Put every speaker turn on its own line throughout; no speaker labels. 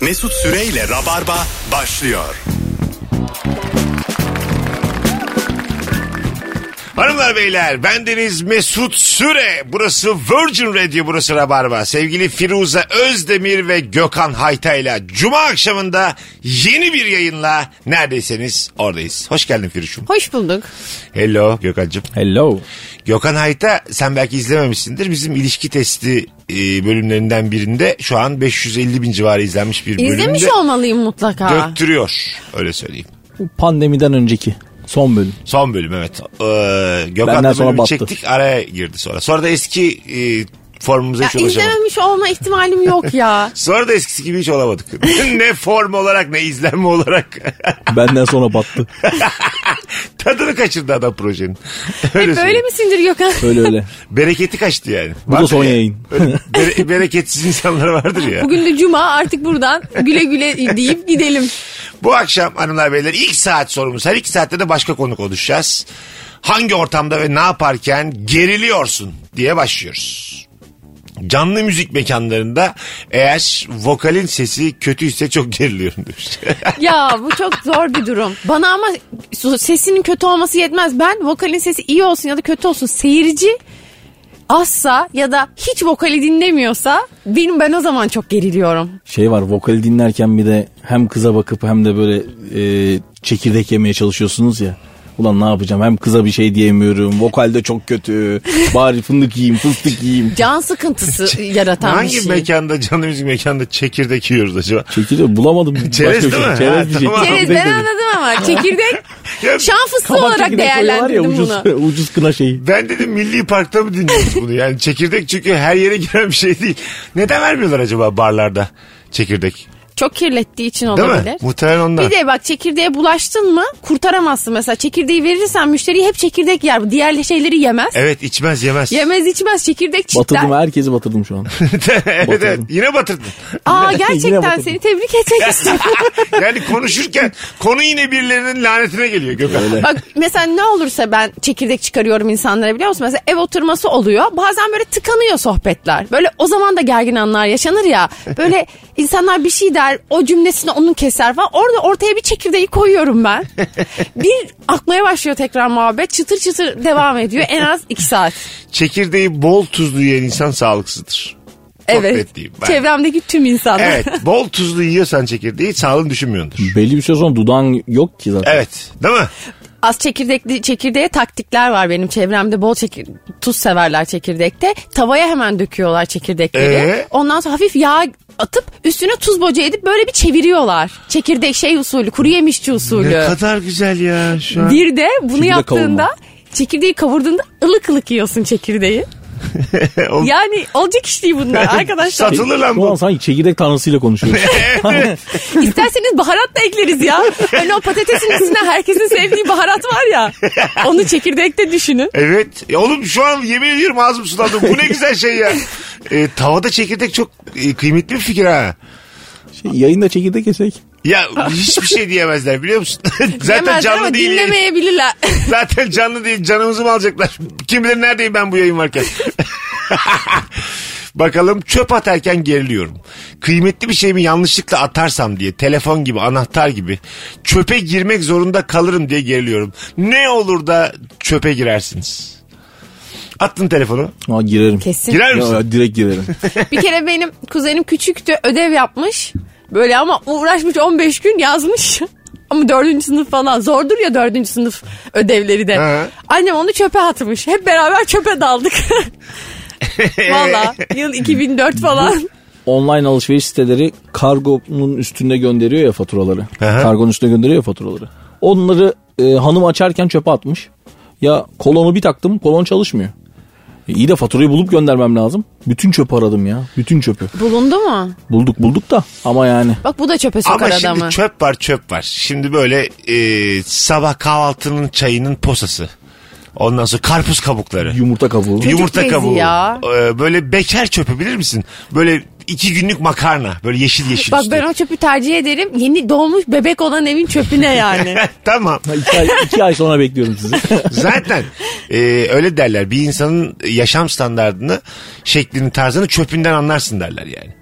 Mesut Süreyle Rabarba başlıyor.
Hanımlar beyler ben Deniz Mesut Süre. Burası Virgin Radio burası Rabarba. Sevgili Firuze Özdemir ve Gökhan Hayta'yla Cuma akşamında yeni bir yayınla neredeyseniz oradayız. Hoş geldin Firuş'um.
Hoş bulduk.
Hello Gökhan'cığım.
Hello.
Gökhan Hayta sen belki izlememişsindir. Bizim ilişki testi e, bölümlerinden birinde şu an 550 bin civarı izlenmiş bir bölümde.
İzlemiş olmalıyım mutlaka.
Döktürüyor öyle söyleyeyim.
Bu Pandemiden önceki son bölüm.
Son bölüm evet. Ee, Gökhan
Benden
da
sonra
bölümü
battı.
çektik araya girdi sonra. Sonra da eski e, formumuza
Ya
hiç ulaşamadık.
izlememiş olma ihtimalim yok ya.
Sonra da eskisi gibi hiç olamadık. ne form olarak ne izlenme olarak.
Benden sonra battı.
Tadını kaçırdı adam projenin. Öyle
Hep E, böyle
söyleyeyim.
misindir Gökhan?
Öyle öyle.
Bereketi kaçtı yani.
Bu da son
ya,
yayın.
öyle bere- bereketsiz insanlar vardır ya.
Bugün de cuma artık buradan güle güle deyip gidelim.
Bu akşam hanımlar beyler ilk saat sorumuz. Her iki saatte de başka konu konuşacağız. Hangi ortamda ve ne yaparken geriliyorsun diye başlıyoruz. Canlı müzik mekanlarında eğer vokalin sesi kötüyse çok geriliyorum demiş.
Ya bu çok zor bir durum. Bana ama sesinin kötü olması yetmez. Ben vokalin sesi iyi olsun ya da kötü olsun seyirci azsa ya da hiç vokali dinlemiyorsa benim ben o zaman çok geriliyorum.
Şey var vokali dinlerken bir de hem kıza bakıp hem de böyle e, çekirdek yemeye çalışıyorsunuz ya. Ulan ne yapacağım hem kıza bir şey diyemiyorum. Vokal de çok kötü. Bari fındık yiyeyim fıstık yiyeyim.
Can sıkıntısı yaratan
Hangi
bir şey.
mekanda canlı müzik mekanında çekirdek yiyoruz acaba?
Çekirdeği bulamadım.
Çerez
başka bir
değil mi?
şey. Çerez
Ha,
diyecektim.
tamam.
Çerez, ben anladım ama çekirdek
Ya
şan fıstığı
Kabak
olarak
çekirdeği koyuyorlar ya,
değerlendirdim bunu.
ucuz, ucuz kına şeyi.
Ben dedim milli parkta mı dinliyoruz bunu? Yani çekirdek çünkü her yere giren bir şey değil. Neden vermiyorlar acaba barlarda çekirdek?
Çok kirlettiği için
Değil
olabilir.
mi? Muhtemelen ondan.
Bir de bak çekirdeğe bulaştın mı kurtaramazsın mesela. Çekirdeği verirsen müşteri hep çekirdek yer. Diğer şeyleri yemez.
Evet içmez yemez.
Yemez içmez çekirdek çitler.
Batırdım herkesi batırdım şu an.
evet, evet
Batırdım.
yine batırdın.
Aa
Yine
gerçekten
batırdım.
seni tebrik etmek istiyorum.
Yani konuşurken konu yine birilerinin lanetine geliyor Gökhan.
Bak mesela ne olursa ben çekirdek çıkarıyorum insanlara biliyor musun? Mesela ev oturması oluyor. Bazen böyle tıkanıyor sohbetler. Böyle o zaman da gergin anlar yaşanır ya. Böyle insanlar bir şey der o cümlesini onun keser falan. Orada ortaya bir çekirdeği koyuyorum ben. Bir akmaya başlıyor tekrar muhabbet. Çıtır çıtır devam ediyor en az iki saat.
Çekirdeği bol tuzlu yiyen insan sağlıksızdır. Çok
Evet.
netliyim ben.
Çevremdeki tüm insanlar.
Evet bol tuzlu yiyorsan çekirdeği sağlığını düşünmüyordur.
Belli bir süre sonra dudağın yok ki zaten.
Evet değil mi?
Az çekirdekli çekirdeğe taktikler var benim çevremde. Bol çekir, tuz severler çekirdekte. Tavaya hemen döküyorlar çekirdekleri.
Ee?
Ondan sonra hafif yağ atıp üstüne tuz boca edip böyle bir çeviriyorlar. Çekirdek şey usulü, kuru yemişçi
Ne
usulü.
kadar güzel ya şu an.
Bir de bunu
Çekirdek
yaptığında
kavurma.
çekirdeği kavurduğunda ılık ılık yiyorsun çekirdeği.
O-
Yani olacak iş değil bunlar arkadaşlar.
Satılır E, lan
Şu an
bu.
sanki çekirdek tanrısıyla konuşuyoruz.
İsterseniz baharat da ekleriz ya. Hani o patatesin üstüne herkesin sevdiği baharat var ya. Onu çekirdekte düşünün.
Evet. E oğlum şu an yemin ediyorum ağzım sulandı. Bu ne güzel şey ya. E, tavada çekirdek çok e, kıymetli bir fikir ha.
Şey, yayında çekirdek yesek.
Ya hiçbir şey diyemezler biliyor musun? Zaten
Yemezler ama
canlı değil.
dinlemeyebilirler.
Zaten canlı değil canımızı mı alacaklar? Kim bilir neredeyim ben bu yayın varken. Bakalım çöp atarken geriliyorum. Kıymetli bir şeyimi yanlışlıkla atarsam diye telefon gibi anahtar gibi çöpe girmek zorunda kalırım diye geriliyorum. Ne olur da çöpe girersiniz. Attın telefonu.
Aa, girerim.
Kesin.
Girer
Ya,
misin?
ya, direkt girerim.
Bir kere benim kuzenim küçüktü ödev yapmış. Böyle ama uğraşmış 15 gün yazmış. Ama dördüncü sınıf falan zordur ya dördüncü sınıf ödevleri de.
Hı.
Annem onu çöpe atmış. Hep beraber çöpe daldık. Valla yıl 2004 falan.
Online alışveriş siteleri kargonun üstünde gönderiyor ya faturaları.
Aha.
Kargonun üstünde gönderiyor ya faturaları. Onları e, hanım açarken çöpe atmış. Ya kolonu bir taktım kolon çalışmıyor. E, iyi de faturayı bulup göndermem lazım. Bütün çöpü aradım ya. Bütün çöpü.
Bulundu mu?
Bulduk bulduk da ama yani.
Bak bu da çöpe sokar
Ama şimdi
adamı.
çöp var çöp var. Şimdi böyle e, sabah kahvaltının çayının posası. Ondan sonra karpuz kabukları.
Yumurta kabuğu.
Yumurta
bezi
kabuğu.
ya.
Ee, böyle beker çöpü bilir misin? Böyle iki günlük makarna. Böyle yeşil yeşil
Bak
üstü.
ben o çöpü tercih ederim. Yeni doğmuş bebek olan evin çöpüne yani.
tamam.
Ha, İki ay, iki ay sonra bekliyorum sizi.
Zaten e, öyle derler. Bir insanın yaşam standartını, şeklini, tarzını çöpünden anlarsın derler yani.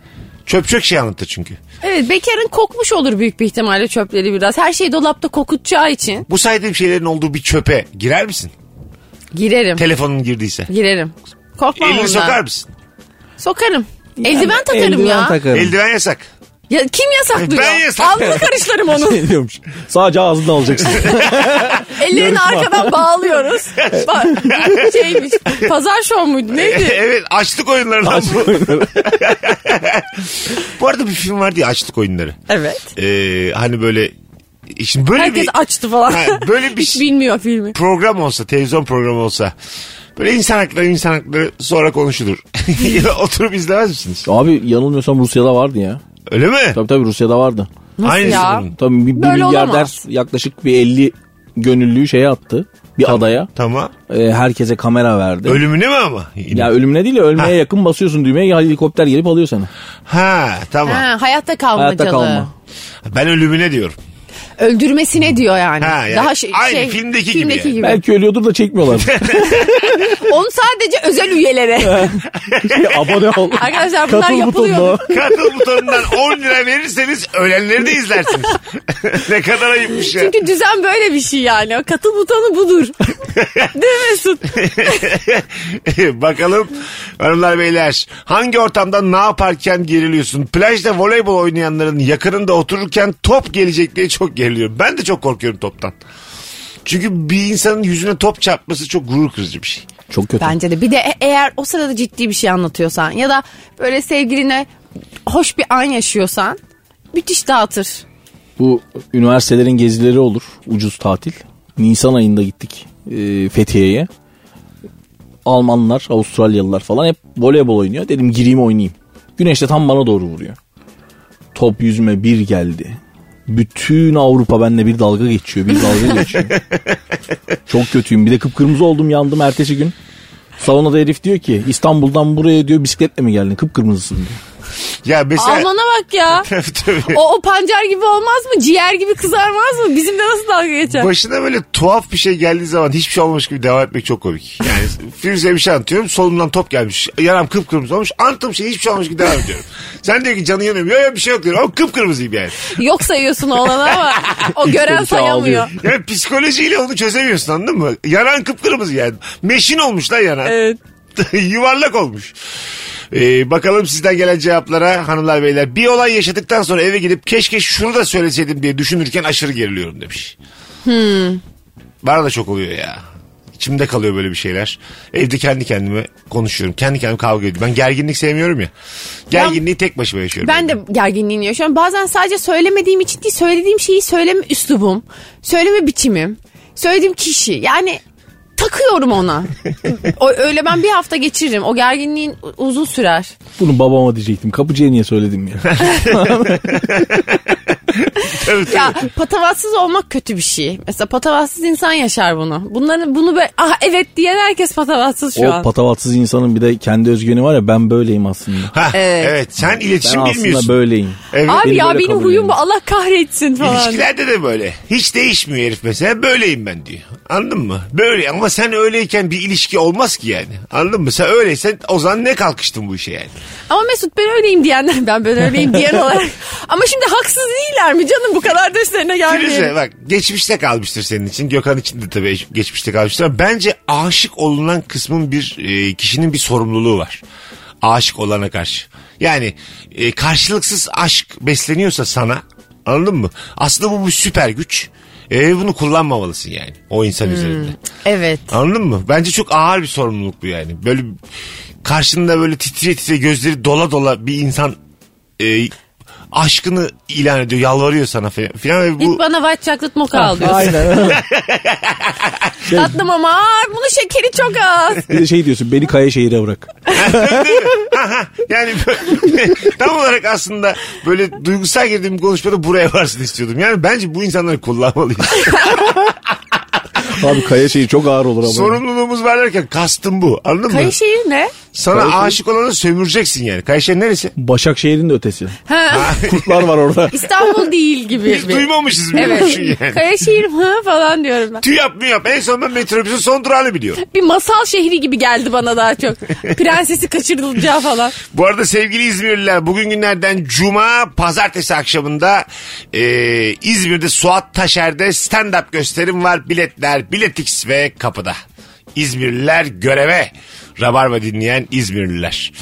Çöp çök şey anlatır çünkü.
Evet bekarın kokmuş olur büyük bir ihtimalle çöpleri biraz. Her şeyi dolapta kokutacağı için.
Bu saydığım şeylerin olduğu bir çöpe girer misin?
Girerim.
Telefonun girdiyse.
Girerim. Korkmam
Elini
ondan.
sokar mısın?
Sokarım. eldiven takarım
Eldiven
ya.
takarım.
Eldiven yasak.
ya. Kim yasaklıyor?
Ben yasaklıyorum.
Alnını karışlarım onun.
Ne Şey diyormuş? Sadece ağzını alacaksın.
Ellerini arkadan bağlıyoruz. Bak, şeymiş. Pazar şov muydu neydi?
evet açlık oyunlarından bu. bu arada bir film vardı ya açlık oyunları.
Evet.
Ee, hani böyle şimdi böyle
Herkes
bir
açtı falan.
Ha, böyle bir şey-
Hiç bilmiyor filmi.
program olsa, televizyon programı olsa böyle insan hakları insan hakları sonra konuşulur. Oturup izlemez misiniz?
Abi yanılmıyorsam Rusya'da vardı ya.
Öyle mi?
Tabii tabii Rusya'da vardı.
Nasıl
Aynısı
ya?
bunun.
Tabii bir, bir
Böyle
milyarder
olamaz.
yaklaşık bir 50 gönüllüyü şeye attı. Bir adaya.
Tamam.
Ee, herkese kamera verdi.
Ölümüne mi ama? Yine.
ya ölümüne değil de ölmeye
Ha.
yakın basıyorsun düğmeye ya helikopter gelip alıyor seni.
Ha tamam.
Ha, hayatta kalmacalı.
Hayatta kalma.
Ben ölümüne diyorum.
Öldürmesine diyor yani.
Ha, yani
Daha şey,
aynı
şey,
filmdeki gibi yani.
Belki ölüyordur da çekmiyorlar.
Onu sadece özel üyelere.
Abone ol.
Arkadaşlar bunlar
Katıl
yapılıyor.
butonuna.
Katıl butonundan 10 lira verirseniz ölenleri de izlersiniz. ne kadar ayıpmış ya.
Çünkü düzen böyle bir şey yani. O Katıl butonu budur. Değil mi Mesut?
Bakalım hanımlar beyler hangi ortamda ne yaparken geriliyorsun? Plajda voleybol oynayanların yakınında otururken top gelecek diye çok geriliyorum. Ben de çok korkuyorum toptan. Çünkü bir insanın yüzüne top çarpması çok gurur kırıcı bir şey.
Çok kötü.
Bence de. Bir de e- eğer o sırada ciddi bir şey anlatıyorsan ya da böyle sevgiline hoş bir an yaşıyorsan müthiş dağıtır.
Bu üniversitelerin gezileri olur. Ucuz tatil. Nisan ayında gittik e, Fethiye'ye. Almanlar, Avustralyalılar falan hep voleybol oynuyor. Dedim gireyim oynayayım. Güneş de tam bana doğru vuruyor. Top yüzüme bir geldi. Bütün Avrupa benimle bir dalga geçiyor. Bir dalga geçiyor. Çok kötüyüm. Bir de kıpkırmızı oldum yandım ertesi gün. Saunada herif diyor ki İstanbul'dan buraya diyor bisikletle mi geldin? Kıpkırmızısın diyor.
Ya mesela...
Almana bak ya.
Tabii.
O, o pancar gibi olmaz mı? Ciğer gibi kızarmaz mı? Bizimle nasıl dalga geçer?
Başına böyle tuhaf bir şey geldiği zaman hiçbir şey olmamış gibi devam etmek çok komik. Yani Firuze bir şey anlatıyorum solumdan top gelmiş. Yaram kıpkırmızı olmuş. Anlattığım şey hiçbir şey olmamış gibi devam ediyorum. Sen diyor ki canın yanıyor. mu? Yok yok bir şey yok diyorum. Ama kıpkırmızıyım yani.
Yok sayıyorsun olanı ama o gören
bir şey
sayamıyor.
ağlıyor.
Yani psikolojiyle onu çözemiyorsun anladın mı? Yaran kıpkırmızı yani. Meşin olmuş lan yaran.
Evet.
Yuvarlak olmuş. Ee, bakalım sizden gelen cevaplara hanımlar beyler. Bir olay yaşadıktan sonra eve gidip keşke şunu da söyleseydim diye düşünürken aşırı geriliyorum demiş.
Hmm.
Bana da çok oluyor ya. İçimde kalıyor böyle bir şeyler. Evde kendi kendime konuşuyorum. Kendi kendime kavga ediyorum. Ben gerginlik sevmiyorum ya. Gerginliği tek başıma yaşıyorum.
Ben de gerginliğini yaşıyorum. Bazen sadece söylemediğim için değil, söylediğim şeyi söyleme üslubum, söyleme biçimim, söylediğim kişi. Yani takıyorum ona. o, öyle ben bir hafta geçiririm. O gerginliğin u- uzun sürer.
Bunu babama diyecektim. Kapıcıya niye söyledim ya?
Tabii, tabii.
Ya patavatsız olmak kötü bir şey. Mesela patavatsız insan yaşar bunu. Bunların bunu böyle ah evet diyen herkes patavatsız şu an.
O patavatsız insanın bir de kendi özgüveni var ya ben böyleyim aslında.
Hah, evet.
Evet.
Sen
Ben
iletişim bilmiyorsun.
aslında böyleyim.
Evet.
Abi
Beni
ya
böyle
benim
kabul
huyum
edin.
bu Allah kahretsin falan.
İlişkilerde de böyle. Hiç değişmiyor herif mesela. Böyleyim ben diyor. Anladın mı? Böyle ama sen öyleyken bir ilişki olmaz ki yani. Anladın mı? Sen öyleysen o zaman ne kalkıştın bu işe yani?
Ama Mesut ben öyleyim diyenler ben ben öyleyim diyen olarak. Ama şimdi haksız değiller mi canım bu kadar da üstlerine
Firuze
gelmeyelim.
bak geçmişte kalmıştır senin için. Gökhan için de tabii geçmişte kalmıştır. ama Bence aşık olunan kısmın bir e, kişinin bir sorumluluğu var. Aşık olana karşı. Yani e, karşılıksız aşk besleniyorsa sana anladın mı? Aslında bu bir süper güç. E, bunu kullanmamalısın yani o insan üzerinde.
Evet.
Anladın mı? Bence çok ağır bir sorumluluk bu yani. Böyle karşında böyle titre titre gözleri dola dola bir insan e, aşkını ilan ediyor, yalvarıyor sana fe- filan ve
Git
bu
bana white chocolate mocha al diyorsun.
Aynen.
Tatlım ama ay, bunun şekeri çok az.
Bir de şey diyorsun beni kaya şehire bırak.
yani böyle- tam olarak aslında böyle duygusal girdiğim bir konuşmada buraya varsın istiyordum. Yani bence bu insanları kullanmalıyız.
Abi kaya şehir çok ağır olur ama.
Sorumluluğumuz var derken kastım bu. Anladın mı?
Kayışehir ne?
Sana aşık olanı sömüreceksin yani. Kayseri neresi?
Başakşehir'in de ötesi.
Ha,
Kurtlar var orada.
İstanbul değil gibi.
Hiç
bir-
duymamışız bile
Evet.
düşün yani.
Kayaşehir mi falan diyorum ben.
Tüy yapmıyor. En son ben metrobüsün son durağını biliyorum.
Bir masal şehri gibi geldi bana daha çok. Prensesi kaçırılacağı falan.
Bu arada sevgili İzmirliler bugün günlerden Cuma pazartesi akşamında e, İzmir'de Suat Taşer'de stand-up gösterim var. Biletler Biletix ve kapıda. İzmirliler göreve. Rabarba dinleyen İzmirliler.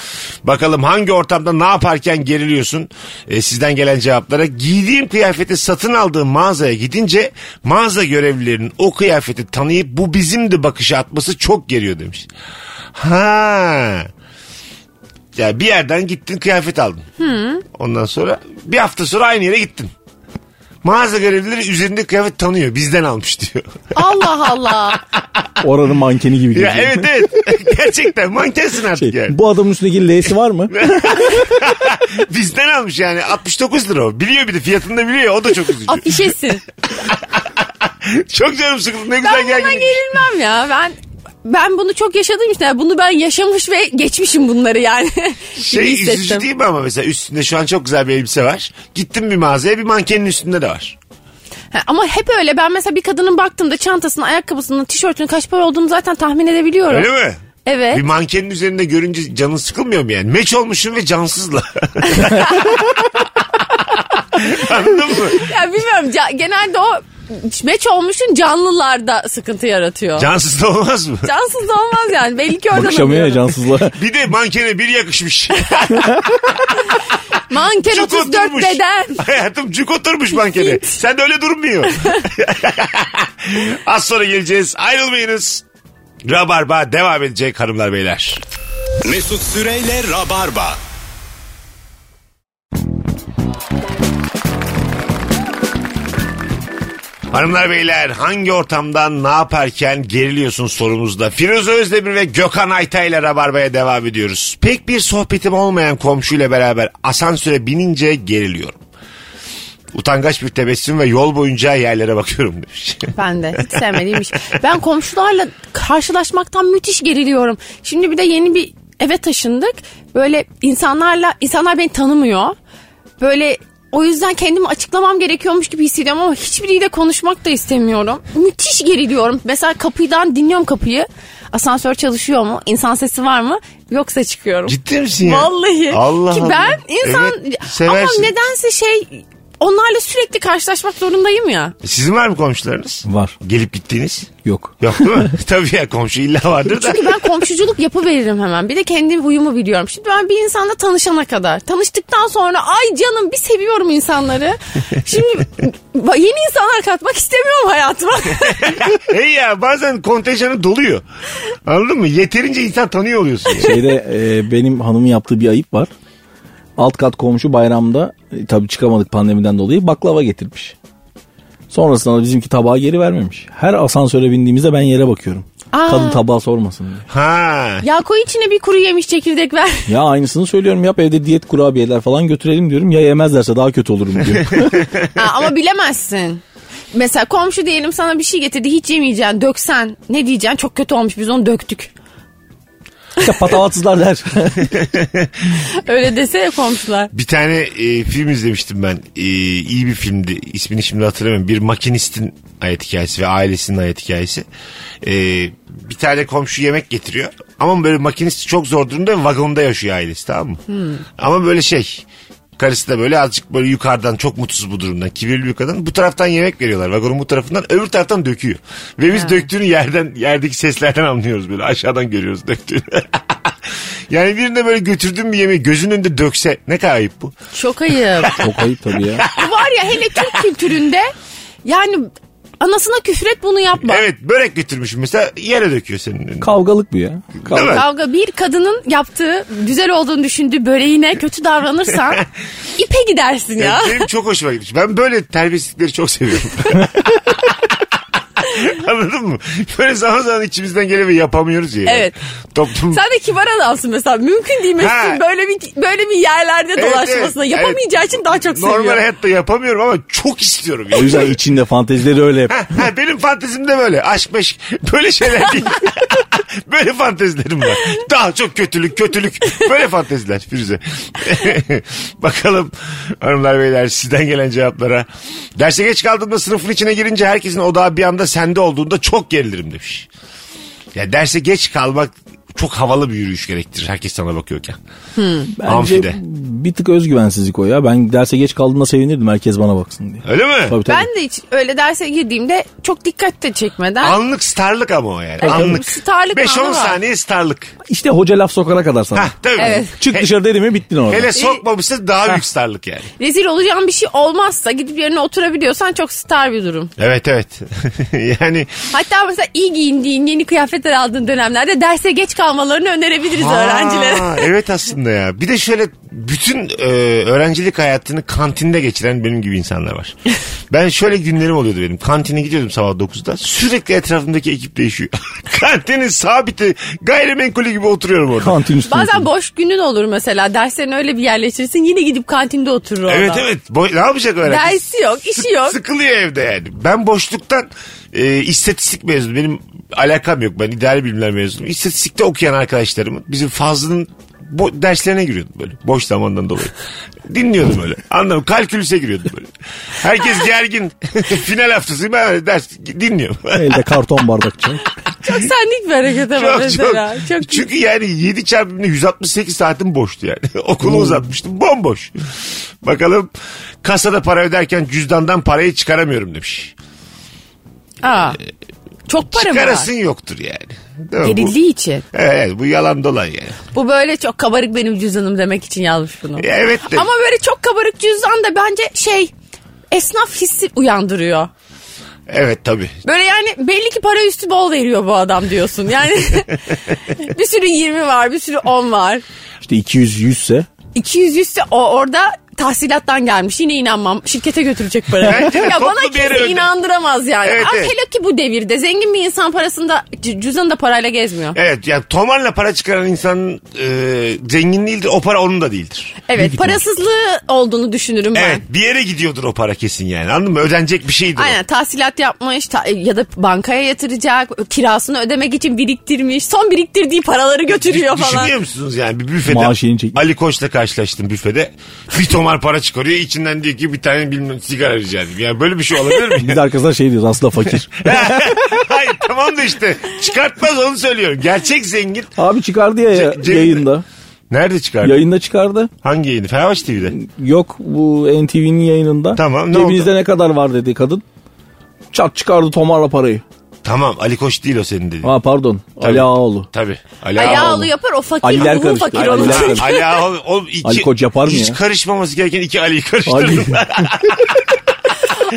Bakalım hangi ortamda ne yaparken geriliyorsun? E, sizden gelen cevaplara. Giydiğim kıyafeti satın aldığım mağazaya gidince mağaza görevlilerinin o kıyafeti tanıyıp bu bizimdi bakışı atması çok geriyor demiş. Ha. Ya bir yerden gittin kıyafet aldın. Ondan sonra bir hafta sonra aynı yere gittin. Mağaza görevlileri üzerinde kıyafet tanıyor. Bizden almış diyor.
Allah Allah.
Oranın mankeni gibi
ya
geziyor.
evet evet. Gerçekten mankensin artık
Şey,
yani.
Bu adamın üstündeki L'si var mı?
Bizden almış yani. 69 lira o. Biliyor bir de fiyatını da biliyor. O da çok üzücü.
Afişesi.
çok canım sıkıldı. Ne
Ben
güzel
buna
geldi.
gerilmem ya. Ben ben bunu çok yaşadım işte. Bunu ben yaşamış ve geçmişim bunları yani. Gibi
Şey üzücü
hissettim.
değil mi ama mesela üstünde şu an çok güzel bir elbise var. Gittim bir mağazaya bir mankenin üstünde de var.
Ha, Ama hep öyle. Ben mesela bir kadının baktığımda çantasının, ayakkabısının, tişörtünün kaç para olduğunu zaten tahmin edebiliyorum.
Öyle mi?
Evet.
Bir mankenin üzerinde görünce canın sıkılmıyor mu yani? Meç olmuşsun ve cansızla. Anladın mı?
Ya bilmiyorum. Ca- genelde o meç olmuşun canlılarda sıkıntı yaratıyor.
Cansız da olmaz mı?
Cansız da olmaz yani. Belli ki oradan
Bakışamıyor ya
alıyorum.
cansızla.
Bir de mankene bir yakışmış.
Manken
Cuk
34
oturmuş.
beden.
Hayatım cuk oturmuş mankene. Sen de öyle durmuyor. Az sonra geleceğiz. Ayrılmayınız. Rabarba devam edecek hanımlar beyler.
Mesut Süreyle Rabarba.
Hanımlar beyler hangi ortamdan ne yaparken geriliyorsun sorumuzda. Firuze Özdemir ve Gökhan Ayta ile Rabarba'ya devam ediyoruz. Pek bir sohbetim olmayan komşuyla beraber asansöre binince geriliyorum. Utangaç bir tebessüm ve yol boyunca yerlere bakıyorum demiş.
Ben de hiç sevmediğim iş. Ben komşularla karşılaşmaktan müthiş geriliyorum. Şimdi bir de yeni bir eve taşındık. Böyle insanlarla insanlar beni tanımıyor. Böyle o yüzden kendimi açıklamam gerekiyormuş gibi hissediyorum ama hiçbiriyle konuşmak da istemiyorum. Müthiş geriliyorum. Mesela kapıdan dinliyorum kapıyı. Asansör çalışıyor mu? İnsan sesi var mı? Yoksa çıkıyorum.
Ciddi misin ya?
Vallahi.
Allah
Ki
Allah.
ben insan
Evet,
ama
seversin.
nedense şey onlarla sürekli karşılaşmak zorundayım ya.
Sizin var mı komşularınız?
Var.
Gelip gittiğiniz?
Yok.
Yok değil mi? Tabii ya komşu illa vardır da.
Çünkü ben komşuculuk yapıveririm hemen. Bir de kendi huyumu biliyorum. Şimdi ben bir insanla tanışana kadar. Tanıştıktan sonra ay canım bir seviyorum insanları. Şimdi yeni insanlar katmak istemiyorum hayatıma.
Hey ya bazen kontenjanı doluyor. Anladın mı? Yeterince insan tanıyor oluyorsun. yani.
Şeyde e, benim hanımın yaptığı bir ayıp var. Alt kat komşu bayramda e, tabii çıkamadık pandemiden dolayı baklava getirmiş. Sonrasında da bizimki tabağı geri vermemiş. Her asansöre bindiğimizde ben yere bakıyorum.
Aa.
Kadın tabağa sormasın diye.
Ha.
ya koy içine bir kuru yemiş çekirdek ver.
Ya aynısını söylüyorum yap evde diyet kurabiyeler falan götürelim diyorum. Ya yemezlerse daha kötü olurum diyor.
Ha, ama bilemezsin. Mesela komşu diyelim sana bir şey getirdi hiç yemeyeceksin döksen ne diyeceksin çok kötü olmuş biz onu döktük.
işte patavatsızlar der.
Öyle dese ya komşular.
Bir tane e, film izlemiştim ben. E, iyi bir filmdi. İsmini şimdi hatırlamıyorum. Bir makinistin hayat hikayesi ve ailesinin hayat hikayesi. E, bir tane komşu yemek getiriyor. Ama böyle makinist çok zor durumda ve vagonda yaşıyor ailesi tamam mı? Ama böyle şey Karısı da böyle azıcık böyle yukarıdan çok mutsuz bu durumdan. Kibirli bir kadın. Bu taraftan yemek veriyorlar. Vagonun bu tarafından öbür taraftan döküyor. Ve biz döktüğünü yerden yerdeki seslerden anlıyoruz böyle. Aşağıdan görüyoruz döktüğünü. yani birine böyle götürdüğüm bir yemeği gözünün önünde dökse ne kadar ayıp bu.
Çok ayıp.
Çok ayıp tabii ya.
Var ya hele Türk kültüründe yani anasına küfret bunu yapma.
Evet börek götürmüşüm mesela yere döküyor senin önüne.
Kavgalık bu ya. Kavga.
Değil mi?
Kavga bir kadının yaptığı güzel olduğunu düşündüğü böreğine kötü davranırsan ipe gidersin ya.
Benim çok hoşuma gitmiş. Ben böyle terbiyesizlikleri çok seviyorum. Anladın mı? Böyle zaman zaman içimizden geleni yapamıyoruz ya.
Evet.
Toplum...
Sen de kibar adamsın mesela. Mümkün değil
Ha.
Mesut'un böyle bir böyle bir yerlerde
Evet,
dolaşmasına.
evet,
Yapamayacağı için daha çok seviyor.
Normal hayatta yapamıyorum ama çok istiyorum.
O yüzden içinde fantezileri öyle yap.
Ha, ha, benim fantezim de böyle. Aşk meşk. Böyle şeyler değil. böyle fantezilerim var. Daha çok kötülük kötülük. Böyle fanteziler Firuze. Bakalım hanımlar beyler sizden gelen cevaplara. Derse geç kaldığımda sınıfın içine girince herkesin odağı bir anda sende olduğunda çok gerilirim demiş. Ya derse geç kalmak çok havalı bir yürüyüş gerektirir. Herkes sana bakıyorken.
Hmm,
Bence
Amfide.
bir tık özgüvensizlik o ya. Ben derse geç kaldığımda sevinirdim herkes bana baksın diye.
Öyle mi?
Tabii tabii.
Ben de hiç öyle derse girdiğimde çok dikkat de çekmeden.
Anlık starlık ama o yani.
Evet,
Anlık.
starlık
5-10
anı var.
saniye starlık.
İşte hoca laf sokana kadar sana.
Ha, tabii.
Evet.
Çık
He-
dışarı dedi mi bittin orada.
Hele sokmamışsa daha büyük starlık yani.
Rezil olacağın bir şey olmazsa gidip yerine oturabiliyorsan çok star bir durum.
Evet evet. yani
Hatta mesela iyi giyindiğin yeni kıyafetler aldığın dönemlerde derse geç kalmalarını önerebiliriz
Aa,
öğrencilere.
evet aslında ya. Bir de şöyle bütün e, öğrencilik hayatını kantinde geçiren benim gibi insanlar var. Ben şöyle günlerim oluyordu benim. Kantine gidiyordum sabah 9'da. Sürekli etrafımdaki ekip değişiyor. Kantinin sabiti gayrimenkulü gibi oturuyorum orada.
Kantin üstüne.
Bazen boş günün olur mesela. Derslerini öyle bir yerleştirirsin yine gidip kantinde oturur orada.
Evet evet. Boy- ne yapacak öğrenci?
Dersi yok, işi yok.
Sıkılıyor evde yani. Ben boşluktan e, istatistik mezunu. Benim alakam yok. Ben idari bilimler mezunuyum. İstatistikte okuyan arkadaşlarımın bizim Fazlı'nın bo- derslerine giriyordum böyle. Boş zamandan dolayı. Dinliyordum böyle. Anladım. Kalkülüse giriyordum böyle. Herkes gergin. Final haftası ben öyle ders dinliyorum.
Elde karton bardak çay.
Çok sendik bir hareket ama
Çok, çok.
mesela. Çok,
Çünkü yani 7 çarpımda 168 saatim boştu yani. Okulu uzatmıştım bomboş. Bakalım kasada para öderken cüzdandan parayı çıkaramıyorum demiş.
Aa, çok para mı var?
Çıkarasın yoktur yani. Değil mi? Bu,
Gerildiği için.
evet, evet, bu yalan dolan yani.
Bu böyle çok kabarık benim cüzdanım demek için yazmış bunu.
E, Evet de.
Ama böyle çok kabarık cüzdan da bence şey esnaf hissi uyandırıyor.
Evet tabii.
Böyle yani belli ki para üstü bol veriyor bu adam diyorsun. Yani bir sürü 20 var, bir sürü 10 var.
İşte 200 100 ise
200 ise o orada tahsilattan gelmiş. Yine inanmam. Şirkete götürecek parayı.
Bence de
ya
toplu
bana
bir yere
kimse
öde.
inandıramaz yani.
Evet,
Ama
evet.
hele ki bu devirde zengin bir insan parasında cü- cüzdanı da parayla gezmiyor.
Evet yani tomarla para çıkaran insanın e, zengin değildir. O para onun da değildir.
Evet, parasızlığı olduğunu düşünürüm ben.
Evet bir yere gidiyordur o para kesin yani anladın mı? Ödenecek bir şeydir
Aynen tahsilat yapmış ta- ya da bankaya yatıracak kirasını ödemek için biriktirmiş son biriktirdiği paraları
o. Düş-
götürüyor falan.
Düşünüyor şey musunuz yani bir büfede
Maaş yeni çekmiş.
Ali Koç'la karşılaştım büfede bir tomar para çıkarıyor içinden diyor ki bir tane bilmem sigara rica edeyim. Yani böyle bir şey olabilir mi?
biz arkasından şey diyoruz aslında fakir.
Hayır tamam da işte çıkartmaz onu söylüyorum. Gerçek zengin.
Abi çıkardı ya,
Ce- cebinde-
yayında.
Nerede çıkardı?
Yayında çıkardı.
Hangi yayını? Fenerbahçe TV'de.
Hmm. Yok bu NTV'nin yayınında.
Tamam, ne
Cebinizde ne kadar var dedi kadın. Çat çıkardı tomarla parayı.
Tamam Ali Koç değil o senin dediğin.
Ha pardon Ali Ağaoğlu.
Tabii. Ali Ağaoğlu.
Ayağlı yapar o fakir
Aliler
ruhu
karıştı.
fakir
Aliler
olur.
karıştı.
Ali, Ali Ağaoğlu. Oğlum iki,
Ali Koç yapar mı
hiç
ya?
karışmaması gereken iki Ali'yi
Ali.
karıştırdım.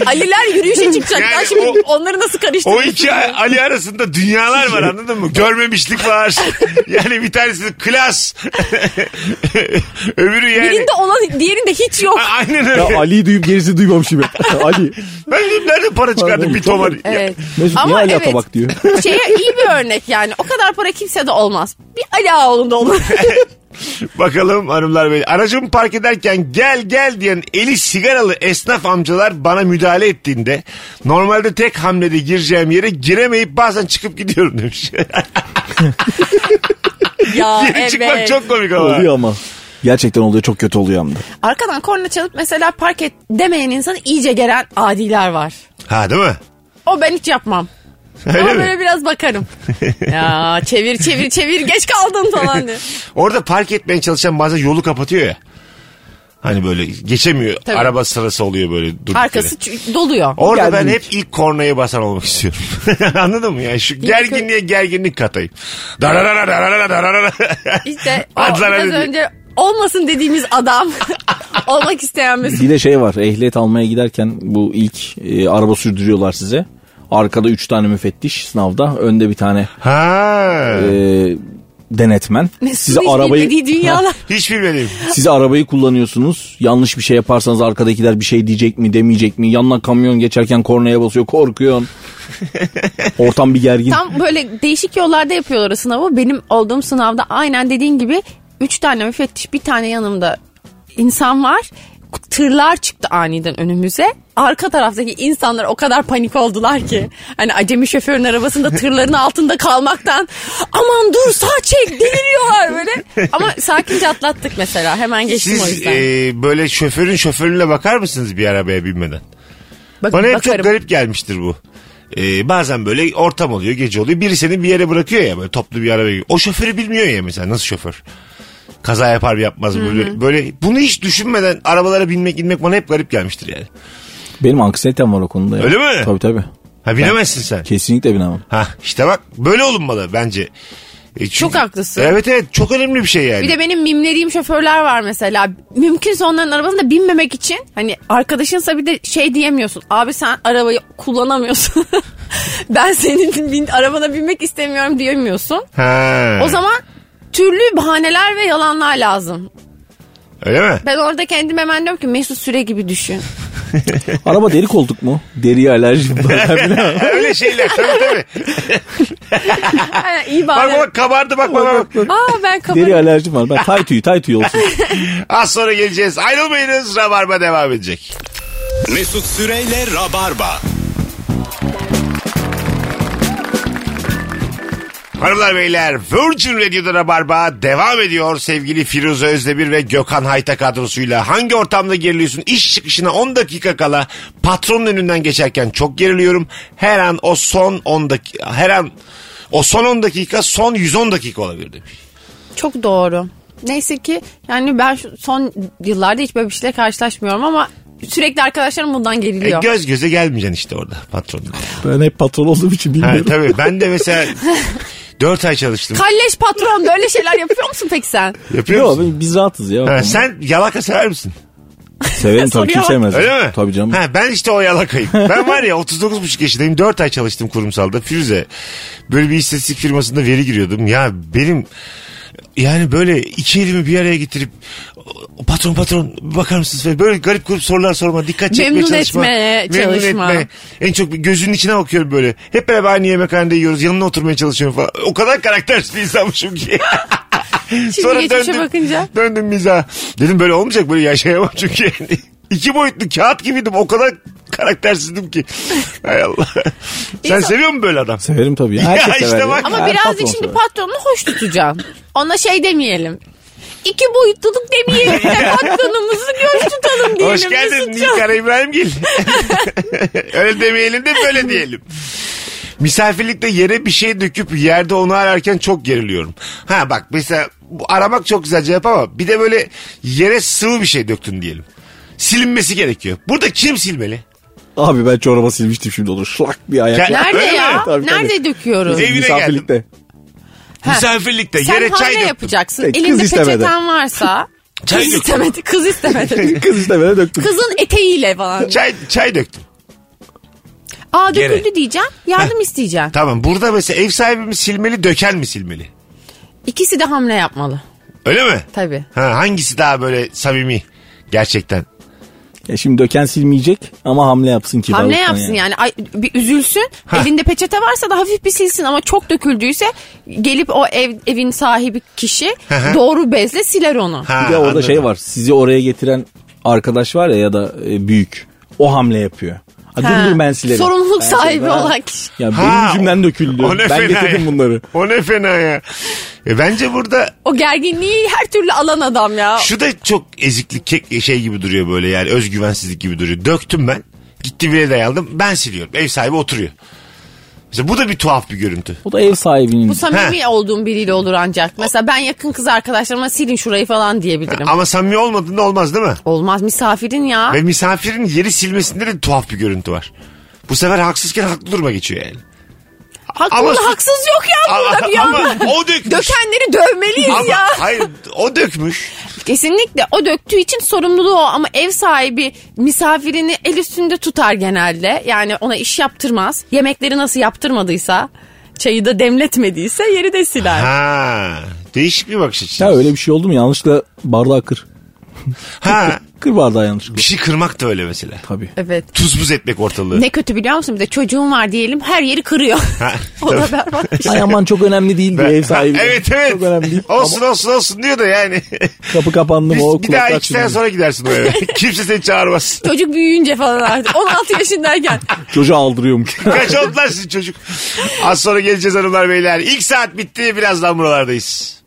Aliler yürüyüşe çıkacaklar
Yani
şimdi
o-
onları nasıl
o
karıştırıyorsun?
iki Ali arasında dünyalar var anladın mı? Görmemişlik var. Yani bir tanesi klas. Öbürü yani.
Birinde olan diğerinde hiç yok.
A- Aynen öyle.
Ya Ali'yi duyup gerisi duymamış gibi. Ali.
Ben dedim nerede para çıkardın
Pardon,
bir
çok-
tomar.
Evet.
Mesut niye
Ama
Ali
evet
Atabak diyor.
şeye iyi bir örnek yani o kadar para kimse de olmaz. Bir Ali Ağaoğlu'nda olur.
Bakalım hanımlar beyler. Aracımı park ederken gel gel diyen eli sigaralı esnaf amcalar bana müdahale ettiğinde normalde tek hamlede gireceğim yere giremeyip bazen çıkıp gidiyorum demiş.
ya
Geri çıkmak
evet.
çok komik ama.
Oluyor ama. Gerçekten oluyor çok kötü oluyor hem de.
Arkadan korna çalıp mesela park et demeyen insanı iyice gelen adiler var.
Ha değil mi?
O ben hiç yapmam.
Öyle
Ama
mi?
böyle biraz bakarım. ya çevir çevir çevir geç kaldın falan diye.
Orada park etmeye çalışan bazen yolu kapatıyor ya. Hani böyle geçemiyor.
Tabii.
Araba sırası oluyor böyle durduk
Arkası
yere.
çü- doluyor.
Orada
Gerginlik.
ben hep ilk kornaya basan olmak istiyorum. Anladın mı? Yani şu gerginliğe gerginlik katayım. Dararara dararara dararara.
İşte o
Adlara
biraz
dedi.
önce olmasın dediğimiz adam olmak isteyen Mesut.
Bir de şey var ehliyet almaya giderken bu ilk e, araba sürdürüyorlar size. Arkada 3 tane müfettiş sınavda önde bir tane
Ha.
e, denetmen size
Mesut'un hiç
arabayı
bilmediği dünyalar.
Hiç bilmedim.
size arabayı kullanıyorsunuz. Yanlış bir şey yaparsanız arkadakiler bir şey diyecek mi, demeyecek mi? Yanına kamyon geçerken kornaya basıyor, korkuyorsun. Ortam bir gergin.
Tam böyle değişik yollarda yapıyorlar o sınavı. Benim olduğum sınavda aynen dediğin gibi 3 tane müfettiş bir tane yanımda insan var. Tırlar çıktı aniden önümüze. Arka taraftaki insanlar o kadar panik oldular ki. Hani acemi şoförün arabasında tırların altında kalmaktan aman dur sağ çek deliriyorlar böyle. Ama sakince atlattık mesela hemen geçtim o
Siz
yüzden.
e, böyle şoförün şoförüne bakar mısınız bir arabaya binmeden?
Bak-
Bana hep çok
bakarım.
garip gelmiştir bu. E, bazen böyle ortam oluyor, gece oluyor. Biri seni bir yere bırakıyor ya böyle toplu bir arabaya. O şoförü bilmiyor ya mesela nasıl şoför? Kaza yapar mı yapmaz mı böyle. Böyle bunu hiç düşünmeden arabalara binmek inmek bana hep garip gelmiştir yani.
Benim anksiyetem var o konuda. ya.
Öyle mi?
Tabii tabii.
Ha binemezsin sen.
Kesinlikle binemem.
Ha işte bak böyle olunmalı bence. E, çünkü-
Çok haklısın.
Evet evet çok önemli bir şey yani.
Bir de benim mimlediğim şoförler var mesela. Mümkünse onların arabasına binmemek için hani arkadaşınsa bir de şey diyemiyorsun. Abi sen arabayı kullanamıyorsun. ben senin bin, arabana binmek istemiyorum diyemiyorsun.
Ha.
O zaman türlü bahaneler ve yalanlar lazım.
Öyle mi?
Ben orada kendim hemen diyorum ki Mesut Süre gibi düşün.
Araba deri koltuk mu? Deriye alerjim var. Ben bilemem.
Öyle şeyler tabii tabii.
Aynen, iyi
Bak
bahane.
bak kabardı bak bak bak.
Aa ben
Deri
kapatıyorum.
alerjim var. Ben tay tüyü tay tüyü olsun.
Az sonra geleceğiz. Ayrılmayınız. Rabarba devam edecek.
Mesut Süreyle Rabarba.
Hanımlar beyler Virgin Radio'da Rabarba devam ediyor. Sevgili Firuze Özdemir ve Gökhan Hayta kadrosuyla hangi ortamda geriliyorsun? İş çıkışına 10 dakika kala patronun önünden geçerken çok geriliyorum. Her an o son 10 dakika her an o son 10 dakika son 110 dakika olabilir demiş.
Çok doğru. Neyse ki yani ben şu son yıllarda hiç böyle bir şeyle karşılaşmıyorum ama sürekli arkadaşlarım bundan
E,
geriliyor.
göz göze gelmeyeceksin işte orada patronla.
Ben hep patron olduğum için
Ha,
bilmiyorum.
tabii ben de mesela 4 ay çalıştım.
Kalleş patron böyle şeyler yapıyor musun peki sen?
Yapıyor
Yok
musun?
ben- biz rahatız ya.
Ha, sen yalaka sever misin?
Severim tabii kim
Soruyor.
sevmez.
Öyle mi?
Tabii canım.
Ha, ben işte o yalakayım. Ben var ya 39,5 yaşındayım. 4 ay çalıştım kurumsalda. Firuze böyle bir istatistik firmasında veri giriyordum. Ya benim yani böyle iki elimi bir araya getirip "O, patron patron bakar mısınız? falan. Böyle garip grup sorular sorma. Dikkat çekmeye
Memnun
çalışma.
etmeye çalışma.
En çok gözünün içine bakıyorum böyle. Hep beraber aynı yemekhanede yiyoruz. Yanına oturmaya çalışıyorum falan. O kadar karaktersiz bir insanmışım ki.
Şimdi geçmişe bakınca.
Döndüm miza. Dedim böyle olmayacak böyle yaşayamam çünkü. yani. İki boyutlu kağıt gibiydim. O kadar karaktersizdim ki. Hay Allah. Sen
İnsan-
seviyor musun böyle adam?
Severim tabii. Ya. Herkes
Ya işte
sever ya.
bak.
Ama
Her
birazcık
patron
şimdi
sever.
patronunu hoş tutacaksın. Ona şey demeyelim. İki boyutluluk demeyelim de patronumuzu göz tutalım diyelim.
Hoş geldin
Mesut'cum.
Nilkara İbrahimgil. Öyle demeyelim de böyle diyelim. Misafirlikte yere bir şey döküp yerde onu ararken çok geriliyorum. Ha bak mesela bu aramak çok güzel cevap ama bir de böyle yere sıvı bir şey döktün diyelim. Silinmesi gerekiyor. Burada kim silmeli?
Abi ben çorba silmiştim şimdi olur. Şlak bir ayakla.
Ya-
Nerede
Öyle mi?
ya?
Tabii, tabii.
Nerede döküyoruz?
Evine
Misafirlikte.
Ha.
Misafirlikte
Sen
yere çay
hamle
döktün.
yapacaksın.
Kız
Elinde
istemedi.
peçeten varsa.
Çay
kız
döktüm.
istemedi. Kız istemedi.
Kız işte böyle döktüm.
Kızın eteğiyle falan.
Çay, çay döktüm.
Aa döküldü
Yere.
diyeceğim. Yardım isteyeceğim.
Tamam burada mesela ev sahibi mi silmeli döken mi silmeli?
İkisi de hamle yapmalı.
Öyle mi?
Tabii.
Ha, hangisi daha böyle samimi gerçekten?
Ya şimdi döken silmeyecek ama hamle yapsın ki.
Hamle yapsın yani. Ay, bir üzülsün. Elinde peçete varsa da hafif bir silsin ama çok döküldüyse gelip o ev evin sahibi kişi
hı.
doğru bezle siler onu.
Ha,
Bir de orada
anladım.
şey var. Sizi oraya getiren arkadaş var ya ya da e, büyük. O hamle yapıyor. Ha,
Ha.
dur dur ben silerim.
Sorumluluk
Ben-
sahibi
ben-
olan kişi.
Ya
Ha,
benim cümlem döküldü.
o ne
Ben
fena
getirdim
ya.
bunları.
O ne fena ya. E, bence burada
O gerginliği her türlü alan adam ya.
şu da çok eziklik kek- şey gibi duruyor böyle yani özgüvensizlik gibi duruyor. Döktüm ben. Gitti bile dayandım. Ben siliyorum. Ev sahibi oturuyor. Mesela bu da bir tuhaf bir görüntü.
Bu da ev sahibinin.
Bu samimi olduğum biriyle olur ancak. Mesela ben yakın kız arkadaşlarıma silin şurayı falan diyebilirim.
Ama samimi olmadığında olmaz değil mi?
Olmaz misafirin ya.
Ve misafirin yeri silmesinde de tuhaf bir görüntü var. Bu sefer haksızken haklı duruma geçiyor yani.
Haklı
ama-
haksız yok ya burada bir
ama
anda.
o dökmüş.
Dökenleri dövmeliyiz
Ama
ya.
hayır o dökmüş.
Kesinlikle o döktüğü için sorumluluğu o ama ev sahibi misafirini el üstünde tutar genelde. Yani ona iş yaptırmaz. Yemekleri nasıl yaptırmadıysa, çayı da demletmediyse yeri de siler.
Ha Değişik bir bakış açısı.
Ya öyle bir şey oldu mu yanlışlıkla bardağı kır.
Ha
Kır bardağı yanlışlıkla.
bir şey kırmak da öyle mesela.
Tabii.
Evet.
Tuz buz etmek ortalığı.
Ne kötü biliyor musun? Bir de çocuğun var diyelim her yeri kırıyor.
Ha,
o da
tabii.
berbat bir şey.
Ay aman çok önemli değil diye ev sahibi.
evet evet.
Çok önemli değil.
Olsun olsun olsun diyor da yani.
Kapı kapandı mı o
bir daha
kulaklar
iki sene
çınladı.
sonra gidersin o eve. Kimse seni çağırmaz.
Çocuk büyüyünce falan artık. 16 yaşındayken.
Çocuğu aldırıyormuş.
Kaç oldular sizin çocuk. Az sonra geleceğiz hanımlar beyler. İlk saat bitti birazdan buralardayız.